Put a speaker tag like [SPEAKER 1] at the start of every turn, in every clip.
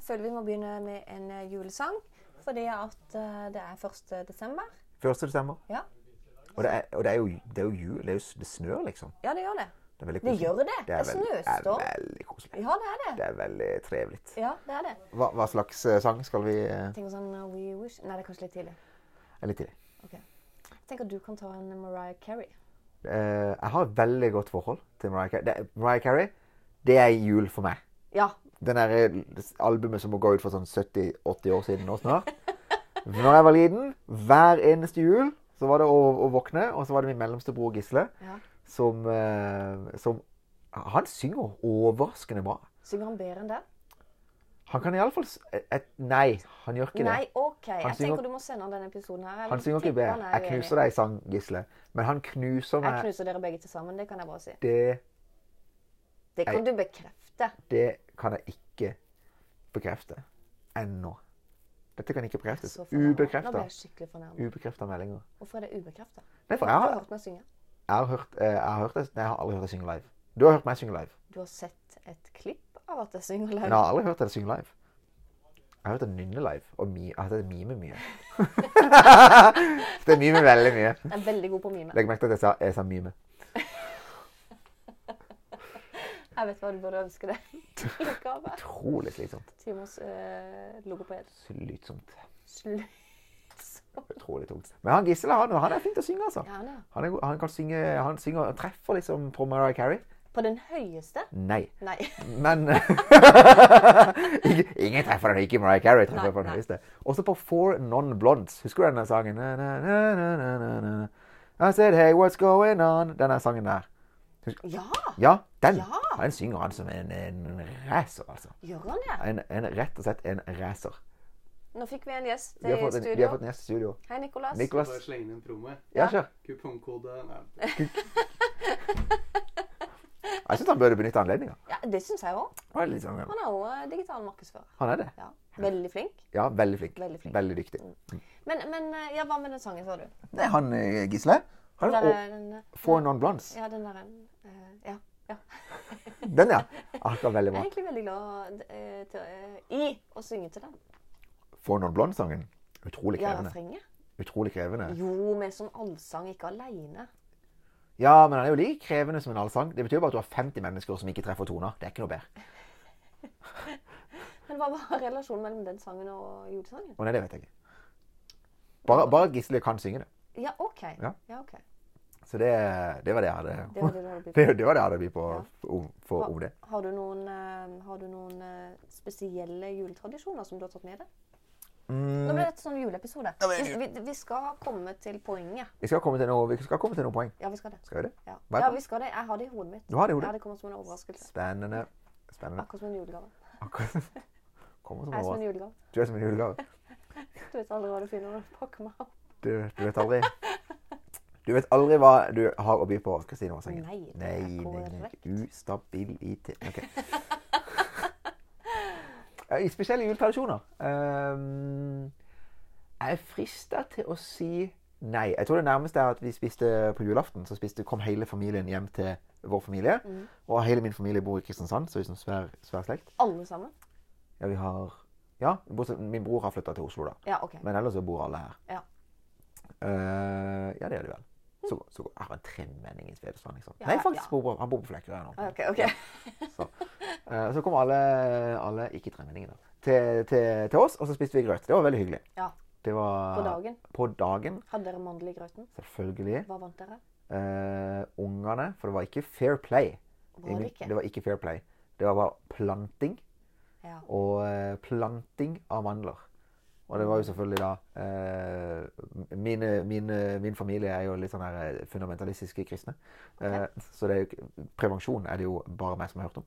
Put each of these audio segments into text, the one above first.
[SPEAKER 1] føler vi må begynne med en eh, julesang. Fordi at eh, det er 1. desember.
[SPEAKER 2] 1. desember.
[SPEAKER 1] Ja,
[SPEAKER 2] Og det er, og det er, jo, det er jo jul. Det, er jo, s- det snør, liksom.
[SPEAKER 1] ja det gjør det.
[SPEAKER 2] Det er veldig
[SPEAKER 1] Det
[SPEAKER 2] koselig.
[SPEAKER 1] gjør det.
[SPEAKER 2] er
[SPEAKER 1] Det er
[SPEAKER 2] veldig-
[SPEAKER 1] snøstorm.
[SPEAKER 2] Det er veldig koselig.
[SPEAKER 1] Ja, det er det.
[SPEAKER 2] Det er veldig trevelig.
[SPEAKER 1] Ja, det er det.
[SPEAKER 2] Hva, hva slags eh, sang skal vi eh,
[SPEAKER 1] Jeg tenker sånn eh, We Wish Nei, det er kanskje litt tidlig.
[SPEAKER 2] er Litt tidlig.
[SPEAKER 1] Ok. Jeg tenker du kan ta en Mariah Carey.
[SPEAKER 2] Eh, jeg har et veldig godt forhold til Mariah Carey. Det, Mariah Carey, det er jul for meg.
[SPEAKER 1] Ja.
[SPEAKER 2] Den der eh, albumet som må gå ut for sånn 70-80 år siden nå snart. Når jeg var liten, hver eneste jul, så var det å, å våkne, og så var det min mellomste bror Gisle,
[SPEAKER 1] ja.
[SPEAKER 2] som, eh, som Han synger overraskende bra.
[SPEAKER 1] Synger han bedre enn den?
[SPEAKER 2] Han kan iallfall eh, Nei, han gjør ikke det.
[SPEAKER 1] Nei, OK. Jeg
[SPEAKER 2] synger-
[SPEAKER 1] tenker du må sende han denne episoden her.
[SPEAKER 2] Han synger ikke bedre. Jeg knuser deg i sang, Gisle. Men han knuser
[SPEAKER 1] Jeg
[SPEAKER 2] meg.
[SPEAKER 1] knuser dere begge til sammen. Det kan jeg bare si.
[SPEAKER 2] Det,
[SPEAKER 1] Det kan du bekrefte.
[SPEAKER 2] det kan jeg ikke bekrefte. Ennå. Dette kan ikke bekreftes.
[SPEAKER 1] Så fornærmet. Nå ble
[SPEAKER 2] Ubekrefta.
[SPEAKER 1] jeg skikkelig fornærmet.
[SPEAKER 2] Ubekrefta meldinger.
[SPEAKER 1] Hvorfor er det ubekrefta?
[SPEAKER 2] Nei, for
[SPEAKER 1] Du har
[SPEAKER 2] jeg har-
[SPEAKER 1] hørt meg synge.
[SPEAKER 2] Jeg har, hørt, eh, jeg, har hørt deg, nei, jeg har aldri hørt deg synge live. Du har hørt meg synge live,
[SPEAKER 1] Du har sett et klipp av at jeg synger
[SPEAKER 2] men
[SPEAKER 1] live.
[SPEAKER 2] jeg har aldri hørt deg synge live. Jeg har hørt deg nynne live, og mi, jeg har hørt deg mime mye. det er mime veldig mye.
[SPEAKER 1] Jeg er veldig god på mime.
[SPEAKER 2] Legg merke til at jeg sa, jeg sa mime.
[SPEAKER 1] Jeg vet hva du burde ønske deg. i gave.
[SPEAKER 2] Utrolig slitsomt.
[SPEAKER 1] Timers eh, logoped.
[SPEAKER 2] Slitsomt.
[SPEAKER 1] Slutt.
[SPEAKER 2] Utrolig tungt. Men han Gisle han, han er flink til å synge, altså.
[SPEAKER 1] Ja, han er.
[SPEAKER 2] Han, er, god- han kan synge Han synger og treffer liksom på Mariah Carey.
[SPEAKER 1] På den høyeste?
[SPEAKER 2] Nei.
[SPEAKER 1] Nei.
[SPEAKER 2] Men Ingen- Ingen treffer den ikke. Mariah Carey treffer
[SPEAKER 1] Nei,
[SPEAKER 2] på den
[SPEAKER 1] nei.
[SPEAKER 2] høyeste. Også på Four Non Blondes. Husker du den der sangen? Na, na, na, na, na, na, na. I said hey, what's going on? Den der sangen der.
[SPEAKER 1] Ja!
[SPEAKER 2] Ja, den.
[SPEAKER 1] Ja.
[SPEAKER 2] Han synger han som en, en racer, altså.
[SPEAKER 1] Gjør han det?
[SPEAKER 2] En, en, rett og slett en racer.
[SPEAKER 1] Nå fikk vi en gjest
[SPEAKER 2] Vi
[SPEAKER 1] i
[SPEAKER 2] har fått en, vi har
[SPEAKER 1] studio.
[SPEAKER 2] fått en gjest i studio.
[SPEAKER 1] Hei, Nicolas.
[SPEAKER 2] Nicolas.
[SPEAKER 3] Bare slenge inn en promo. jeg.
[SPEAKER 2] Ja, kjør.
[SPEAKER 3] Kupongkode Nei.
[SPEAKER 2] Jeg syns han burde benytte anledninga.
[SPEAKER 1] Ja, det syns jeg òg.
[SPEAKER 2] Han er litt sånn-
[SPEAKER 1] Han er òg digital markedsfører.
[SPEAKER 2] han er det.
[SPEAKER 1] Ja. Veldig flink.
[SPEAKER 2] Ja, veldig flink.
[SPEAKER 1] Veldig flink. Mm.
[SPEAKER 2] Veldig dyktig.
[SPEAKER 1] Men, men eh, ja, hva med den sangen, sa du?
[SPEAKER 2] Nei, han eh, Gisle. Han,
[SPEAKER 1] Den
[SPEAKER 2] og
[SPEAKER 1] der, den, eh,
[SPEAKER 2] Four Non Blondes.
[SPEAKER 1] ja, den der eh, Ja. ja.
[SPEAKER 2] Den, ja. Akkurat veldig
[SPEAKER 1] Jeg er
[SPEAKER 2] bra.
[SPEAKER 1] egentlig veldig glad eh, til, eh, i å synge til den.
[SPEAKER 2] Four Non Blondes-sangen. Utrolig
[SPEAKER 1] Ja,
[SPEAKER 2] krevende.
[SPEAKER 1] refrenget.
[SPEAKER 2] Utrolig krevende.
[SPEAKER 1] Jo, med sånn allsang, ikke aleine.
[SPEAKER 2] Ja, men han er jo like krevende som en allsang. Det betyr bare at du har 50 mennesker som ikke treffer toner. Det er ikke noe bedre.
[SPEAKER 1] Men hva var relasjonen mellom den sangen og julesangen?
[SPEAKER 2] Og nei, det vet jeg ikke. Bare, bare at Gisle kan synge det.
[SPEAKER 1] Ja, OK.
[SPEAKER 2] Ja.
[SPEAKER 1] ok.
[SPEAKER 2] Så det, det var det jeg hadde
[SPEAKER 1] Det var det du hadde blitt
[SPEAKER 2] det, det var det jeg hadde å by på
[SPEAKER 1] Ja.
[SPEAKER 2] om, for, om det.
[SPEAKER 1] Ha- Har du noen, eh, har du noen eh, spesielle juletradisjoner som du har tatt med deg?
[SPEAKER 2] Mm,
[SPEAKER 1] Nå ble det et sånn juleepisode. Vi, vi, vi skal komme til poenget.
[SPEAKER 2] Vi skal komme til noe, vi skal komme til noen poeng.
[SPEAKER 1] Ja, vi skal det.
[SPEAKER 2] Skal vi det?
[SPEAKER 1] Ja.
[SPEAKER 2] Hva er
[SPEAKER 1] ja,
[SPEAKER 2] det?
[SPEAKER 1] vi skal det. Jeg har det i hodet mitt.
[SPEAKER 2] Du har det i hodet?
[SPEAKER 1] Ja, det kommer som en overraskelse.
[SPEAKER 2] Spennende. Spennende.
[SPEAKER 1] Akkurat som en julegave.
[SPEAKER 2] Akkurat. Kommer som
[SPEAKER 1] Jeg er som en
[SPEAKER 2] overraskelse.
[SPEAKER 1] julegave.
[SPEAKER 2] Du er som en julegave.
[SPEAKER 1] Du vet aldri hva du finner når du pakker meg opp.
[SPEAKER 2] Du, du vet aldri. Du vet aldri hva du har å by på, Kristine Aasengen.
[SPEAKER 1] Nei, det
[SPEAKER 2] nei,
[SPEAKER 1] er
[SPEAKER 2] nei, nei.
[SPEAKER 1] korrekt.
[SPEAKER 2] Ustabilitet OK. Eh, Spesielle juletradisjoner. Ehm, jeg er frista til å si nei. Jeg tror det nærmeste er at vi spiste på julaften. Så spiste, kom hele familien hjem til vår familie.
[SPEAKER 1] Mm.
[SPEAKER 2] Og hele min familie bor i Kristiansand, så vi er som svær, svær slekt.
[SPEAKER 1] Alle sammen?
[SPEAKER 2] Ja, vi har Ja, bortsett, min bror har flytta til Oslo, da.
[SPEAKER 1] Ja, OK.
[SPEAKER 2] Men ellers så bor alle her.
[SPEAKER 1] Ja.
[SPEAKER 2] Eh, ja, det gjør de vel. Så, så jeg har en tremenning i Svedestrand. Liksom.
[SPEAKER 1] Ja,
[SPEAKER 2] Nei, faktisk
[SPEAKER 1] ja.
[SPEAKER 2] bor bor, han bor på Flekkerøy nå.
[SPEAKER 1] OK. ok.
[SPEAKER 2] Så, eh, så kom alle, alle ikke tremenningene, til, til, til oss, og så spiste vi grøt. Det var veldig hyggelig.
[SPEAKER 1] Ja.
[SPEAKER 2] Det var,
[SPEAKER 1] På dagen?
[SPEAKER 2] På dagen,
[SPEAKER 1] Hadde dere mandel i grøten?
[SPEAKER 2] selvfølgelig.
[SPEAKER 1] Hva vant dere?
[SPEAKER 2] Eh, Ungene For det var ikke fair play.
[SPEAKER 1] Var det ikke?
[SPEAKER 2] det var ikke fair play. Det var bare planting.
[SPEAKER 1] Ja.
[SPEAKER 2] og eh, planting av mandler. Og det var jo selvfølgelig da eh, mine, mine, Min familie er jo litt sånn her eh, fundamentalistiske kristne. Eh, så det er jo, ikke- prevensjon er det jo bare meg som har hørt om.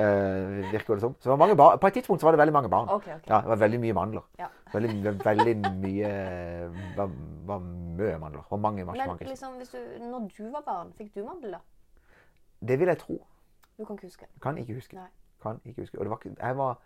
[SPEAKER 2] Eh, virker det som. Så det var mange bar på et tidspunkt så var det veldig mange barn.
[SPEAKER 1] Ok, ok.
[SPEAKER 2] Ja, det var veldig mye mandler.
[SPEAKER 1] Ja.
[SPEAKER 2] Veldig, veldig mye var, var mye mandler. Og mange
[SPEAKER 1] Men
[SPEAKER 2] marsipankristne.
[SPEAKER 1] liksom, hvis du, når du var barn, fikk du mandel, da? liksom-
[SPEAKER 2] Det vil jeg tro.
[SPEAKER 1] Du kan ikke huske.
[SPEAKER 2] Kan ikke huske.
[SPEAKER 1] Nei.
[SPEAKER 2] Kan ikke huske. Og det var ikke Jeg var,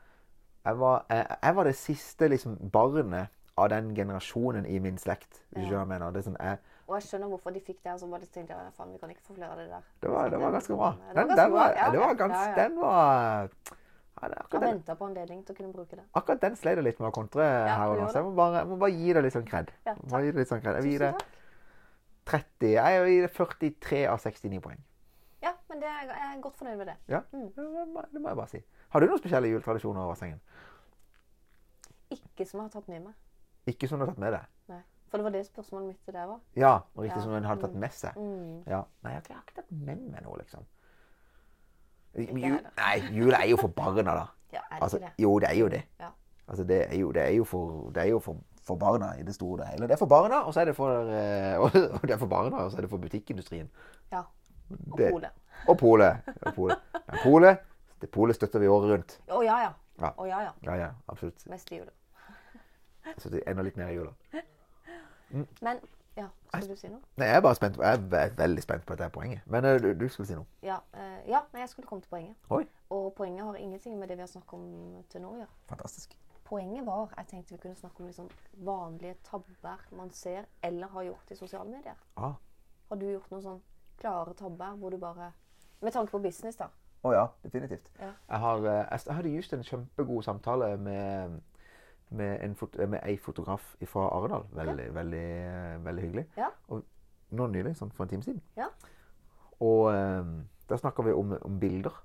[SPEAKER 2] jeg var, jeg, jeg var det siste liksom, barnet av den generasjonen i min slekt. Hvis du
[SPEAKER 1] Ja.
[SPEAKER 2] skjønner hva jeg mener. Det, sånn, eh, som jeg,
[SPEAKER 1] Og jeg skjønner hvorfor de fikk det. Og så bare tenkte jeg faen, vi kan ikke få flere av det der.
[SPEAKER 2] det, var, det var ganske bra.
[SPEAKER 1] Det var
[SPEAKER 2] Den,
[SPEAKER 1] ganske
[SPEAKER 2] den
[SPEAKER 1] bra,
[SPEAKER 2] var,
[SPEAKER 1] ja.
[SPEAKER 2] det var
[SPEAKER 1] Ja,
[SPEAKER 2] gans,
[SPEAKER 1] ja.
[SPEAKER 2] den var Ja, det er
[SPEAKER 1] Jeg
[SPEAKER 2] akkurat, den,
[SPEAKER 1] venta på anledning til å kunne bruke det.
[SPEAKER 2] akkurat den sleit jeg litt med å kontre her og
[SPEAKER 1] du
[SPEAKER 2] nå,
[SPEAKER 1] gjorde
[SPEAKER 2] så jeg må bare, jeg må bare gi det litt sånn kred.
[SPEAKER 1] Ja,
[SPEAKER 2] Jeg må gi det litt sånn cred. Jeg vil gi
[SPEAKER 1] Tusen
[SPEAKER 2] det
[SPEAKER 1] takk.
[SPEAKER 2] 30. Jeg vil gi det 43 av 69 poeng.
[SPEAKER 1] Ja, men det er, jeg er godt fornøyd med det.
[SPEAKER 2] Ja,
[SPEAKER 1] Mm.
[SPEAKER 2] det må det må jeg bare si. Har du noen spesielle juletradisjoner over sengen?
[SPEAKER 1] Ikke som jeg har tatt med meg.
[SPEAKER 2] Ikke som du har tatt med deg?
[SPEAKER 1] Nei. For det var det spørsmålet mitt til deg var.
[SPEAKER 2] Ja, og riktig
[SPEAKER 1] Ja,
[SPEAKER 2] som en har tatt
[SPEAKER 1] mm.
[SPEAKER 2] med seg.
[SPEAKER 1] Mm.
[SPEAKER 2] Ja. Nei, jeg har ikke- jeg har ikke tatt med meg noe, liksom. Jul,
[SPEAKER 1] heller.
[SPEAKER 2] nei, jul er jo for barna, da.
[SPEAKER 1] Ja, er det
[SPEAKER 2] Altså,
[SPEAKER 1] ikke det?
[SPEAKER 2] jo, det er jo det.
[SPEAKER 1] Ja.
[SPEAKER 2] Altså, det er jo, det er jo, for, det er jo for, for barna i det store og det hele. Det er for barna, og så er det for, eh, og det er for, barna, og så er det for butikkindustrien.
[SPEAKER 1] Ja. Og
[SPEAKER 2] Det-
[SPEAKER 1] polet.
[SPEAKER 2] Og polet. Og polet. Men polet, det polet støtter vi året rundt.
[SPEAKER 1] Å ja, ja.
[SPEAKER 2] Ja.
[SPEAKER 1] Å ja, ja.
[SPEAKER 2] Ja, ja, absolutt.
[SPEAKER 1] Mest i jula.
[SPEAKER 2] Så det er enda litt mer i jula.
[SPEAKER 1] Men Ja, skal du si noe?
[SPEAKER 2] Nei, jeg er bare spent. på- Jeg er ve- veldig spent på dette poenget. Men eh, du, du skulle si noe.
[SPEAKER 1] Ja, eh, ja, nei, jeg skulle komme til poenget.
[SPEAKER 2] Oi,
[SPEAKER 1] Og poenget har ingenting med det vi har snakket om til nå å gjøre.
[SPEAKER 2] fantastisk.
[SPEAKER 1] Poenget var jeg tenkte vi kunne snakke om liksom vanlige tabber man ser eller har gjort i sosiale medier.
[SPEAKER 2] Ah.
[SPEAKER 1] Har du gjort noen sånn klare tabber hvor du bare Med tanke på business, da.
[SPEAKER 2] Å ja, definitivt.
[SPEAKER 1] Ja.
[SPEAKER 2] Jeg, har, eh, jeg, jeg hadde just en kjempegod samtale med, med, en fot, med ei fotograf fra Arendal. Veldig, veldig, eh, veldig hyggelig.
[SPEAKER 1] Ja.
[SPEAKER 2] Og nå nylig, sånn for en time siden.
[SPEAKER 1] Ja.
[SPEAKER 2] Og eh, da snakker vi om, om bilder.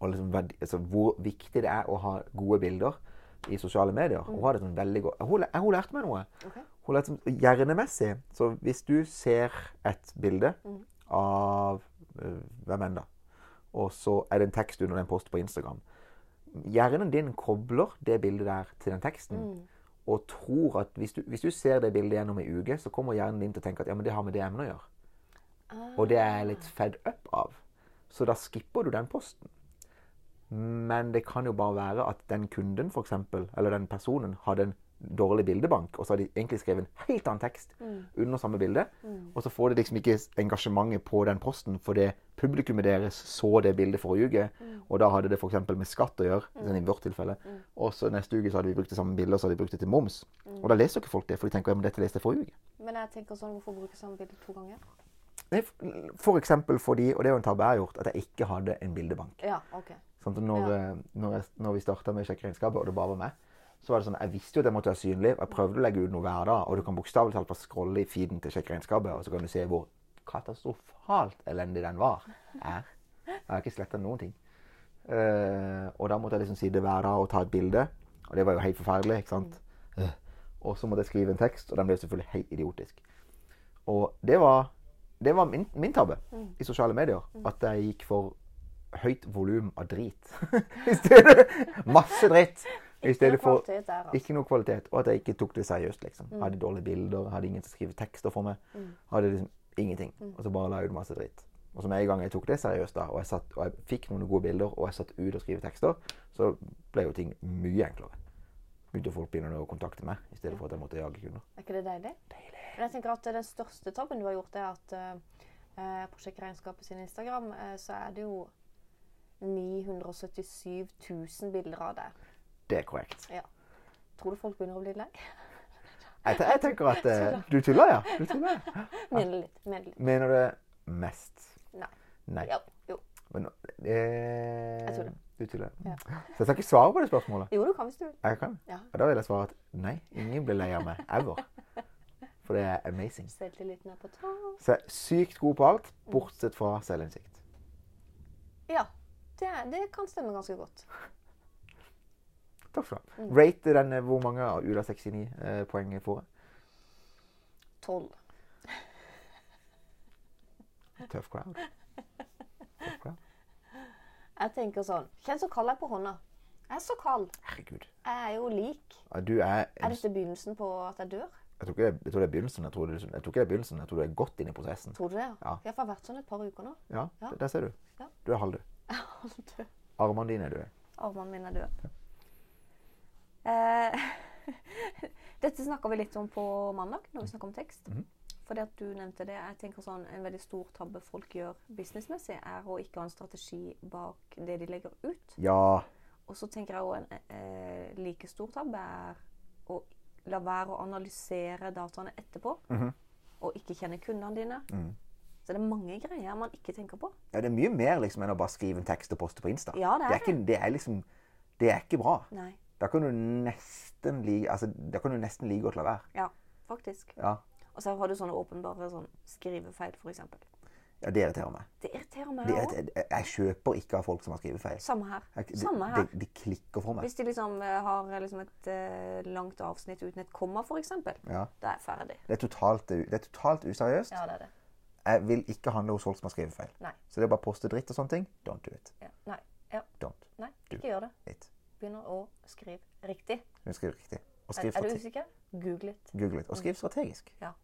[SPEAKER 2] Og liksom, verdi- altså, hvor viktig det er å ha gode bilder i sosiale medier.
[SPEAKER 1] Mm.
[SPEAKER 2] Hun, hadde sånn veldig godt, hun, læ- hun lærte meg noe.
[SPEAKER 1] Ok.
[SPEAKER 2] Hun lærte, hjernemessig. Så hvis du ser et bilde av eh, hvem enn da, og så er det en tekst under den posten på Instagram Hjernen din kobler det bildet der til den teksten. Og tror at hvis du, hvis du ser det bildet gjennom ei uke, så kommer hjernen din til å tenke at ja, men det har med det emnet å gjøre. Og det er jeg litt fed up av. Så da skipper du den posten. Men det kan jo bare være at den kunden, for eksempel, eller den personen, hadde en dårlig bildebank, og så har de egentlig skrevet en helt annen tekst under samme bilde. Og så får de liksom ikke engasjementet på den posten, fordi publikummet deres så det bildet forrige uke, og da hadde det f.eks. med skatt å gjøre, sånn i vårt tilfelle. Og så neste uke så hadde vi brukt det samme bildet, og så hadde vi brukt det til moms. Og da leser jo ikke folk det, for de tenker ja, men dette leste jeg forrige uke.
[SPEAKER 1] Men jeg tenker sånn, hvorfor bruke samme bilde to ganger?
[SPEAKER 2] Nei, f- For eksempel fordi, og det er jo en tabbe jeg har gjort, at jeg ikke hadde en bildebank.
[SPEAKER 1] Ja, OK.
[SPEAKER 2] Sånn at når, eh, når, jeg, når vi starta med å sjekke regnskapet, og det bare var meg, så var det sånn, jeg visste jo at jeg måtte være synlig, og jeg prøvde å legge ut noe hver dag. Og du kan bokstavelig talt bare scrolle i feeden til sjekk regnskapet, og så kan du se hvor katastrofalt elendig den var. Er. Jeg har ikke sletta noen ting. Eh, og da måtte jeg liksom si det hver dag og ta et bilde. Og det var jo helt forferdelig, ikke sant? Eh, Og så måtte jeg skrive en tekst, og den ble selvfølgelig helt idiotisk. Og det var, det var min, min tabbe i sosiale medier.
[SPEAKER 1] Mm.
[SPEAKER 2] At jeg gikk for høyt volum av drit. I stedet, masse dritt. I
[SPEAKER 1] Det er
[SPEAKER 2] stedet for
[SPEAKER 1] kvalitet der, altså.
[SPEAKER 2] ikke noe kvalitet. Og at jeg ikke tok det seriøst. liksom.
[SPEAKER 1] Mm.
[SPEAKER 2] Hadde dårlige bilder, hadde ingen til å skrive tekster for meg. Hadde liksom ingenting.
[SPEAKER 1] Mm.
[SPEAKER 2] Og så bare la jeg ut masse dritt. Og så med en gang jeg tok det seriøst, da, og jeg, satt, og jeg fikk noen gode bilder, og jeg satt ut og skrev tekster, så ble jo ting mye enklere. Begynte folk begynne å kontakte meg, i stedet for at jeg måtte jage kunder.
[SPEAKER 1] Er ikke det deilig? Men jeg tenker at Den største tabben du har gjort, er at eh, på Sjekkeregnskapet sin Instagram, eh, så er det jo 977 000 bilder av deg.
[SPEAKER 2] Det er korrekt.
[SPEAKER 1] Ja. Tror du folk begynner å bli lei?
[SPEAKER 2] Jeg, te- jeg tenker at eh, Du tuller, ja? Du tuller, ja.
[SPEAKER 1] Mener det litt. Mener det litt.
[SPEAKER 2] Mener du mest?
[SPEAKER 1] Nei.
[SPEAKER 2] Nei.
[SPEAKER 1] Ja, jo.
[SPEAKER 2] Men, eh,
[SPEAKER 1] Jeg tuller.
[SPEAKER 2] Du tuller.
[SPEAKER 1] Ja.
[SPEAKER 2] Så jeg skal ikke svare på det spørsmålet?
[SPEAKER 1] jo, du kan hvis du vil.
[SPEAKER 2] Jeg kan.
[SPEAKER 1] Ja.
[SPEAKER 2] Og da vil jeg svare at nei, ingen blir lei av meg. Ever. For det er amazing.
[SPEAKER 1] Selvtilliten er på topp.
[SPEAKER 2] Så jeg er sykt god på alt, bortsett fra selvinnsikt.
[SPEAKER 1] Ja. Det, er- det kan stemme ganske godt.
[SPEAKER 2] Takk skal du ha.
[SPEAKER 1] Mm.
[SPEAKER 2] Rate den eh, hvor mange av ut av 69 eh, poeng får jeg?
[SPEAKER 1] 12.
[SPEAKER 2] Tøff crowd. Tøff crowd.
[SPEAKER 1] Jeg tenker sånn Kjenn så kald jeg er på hånda. Jeg er så kald.
[SPEAKER 2] Herregud.
[SPEAKER 1] Jeg er jo lik.
[SPEAKER 2] Ja, Du er
[SPEAKER 1] Er
[SPEAKER 2] en,
[SPEAKER 1] dette begynnelsen på at jeg dør?
[SPEAKER 2] jeg, tror ikke det, jeg tror det er begynnelsen. Jeg tror, det, jeg tror ikke det er begynnelsen. Jeg tror du er godt inne i prosessen.
[SPEAKER 1] Tror du det?
[SPEAKER 2] Ja.
[SPEAKER 1] Jeg har vært sånn et par uker nå.
[SPEAKER 2] Ja,
[SPEAKER 1] Ja.
[SPEAKER 2] d- der ser du.
[SPEAKER 1] Ja.
[SPEAKER 2] Du er halvdød.
[SPEAKER 1] Jeg er død.
[SPEAKER 2] Armene dine er døde.
[SPEAKER 1] Armene mine er døde. Eh, Dette snakka vi litt om på mandag, når vi snakka om tekst. Fordi at du nevnte det. Jeg tenker sånn, En veldig stor tabbe folk gjør businessmessig, er å ikke ha en strategi bak det de legger ut.
[SPEAKER 2] Ja.
[SPEAKER 1] Og så tenker jeg òg en eh, like stor tabbe er å la
[SPEAKER 2] Mhm. Mm.
[SPEAKER 1] være å analysere dataene etterpå. Og ikke kjenne kundene dine. Så tekster. Det er mange greier man ikke tenker på.
[SPEAKER 2] Ja, det er mye mer liksom, enn å bare skrive en tekst og poste på Insta.
[SPEAKER 1] Ja, det er
[SPEAKER 2] det, er ikke, det er liksom Det er ikke bra.
[SPEAKER 1] Nei.
[SPEAKER 2] Da kan du nesten like, altså, da kan du nesten like godt la være.
[SPEAKER 1] Ja, faktisk.
[SPEAKER 2] Ja.
[SPEAKER 1] Og så har du sånne åpenbare sånn skrivefeil, f.eks.
[SPEAKER 2] ja, det irriterer meg.
[SPEAKER 1] Det irriterer meg
[SPEAKER 2] Det
[SPEAKER 1] òg.
[SPEAKER 2] irriterer, jeg- jeg kjøper ikke av folk som har skrevet feil.
[SPEAKER 1] Samme her.
[SPEAKER 2] Jeg- det-
[SPEAKER 1] Samme her.
[SPEAKER 2] Det, det klikker for meg.
[SPEAKER 1] Hvis de liksom eh, har eh, liksom et eh, langt avsnitt uten et komma, f.eks.,
[SPEAKER 2] Ja.
[SPEAKER 1] da er jeg ferdig.
[SPEAKER 2] Det er totalt, det er totalt useriøst.
[SPEAKER 1] Ja, det er det.
[SPEAKER 2] Jeg vil ikke handle hos folk som har skrevet feil.
[SPEAKER 1] Nei.
[SPEAKER 2] Så det er bare å poste dritt og sånne ting. Don't do it.
[SPEAKER 1] Ja. Nei. Ja.
[SPEAKER 2] Don't
[SPEAKER 1] Nei,
[SPEAKER 2] Du.
[SPEAKER 1] ikke gjør det.
[SPEAKER 2] it.
[SPEAKER 1] Begynner å skrive riktig.
[SPEAKER 2] Hun skriver riktig. Og
[SPEAKER 1] Er,
[SPEAKER 2] skriv
[SPEAKER 1] er du
[SPEAKER 2] strategisk.
[SPEAKER 1] usikker? Google litt.
[SPEAKER 2] Google it. Og skriv strategisk.
[SPEAKER 1] Ja.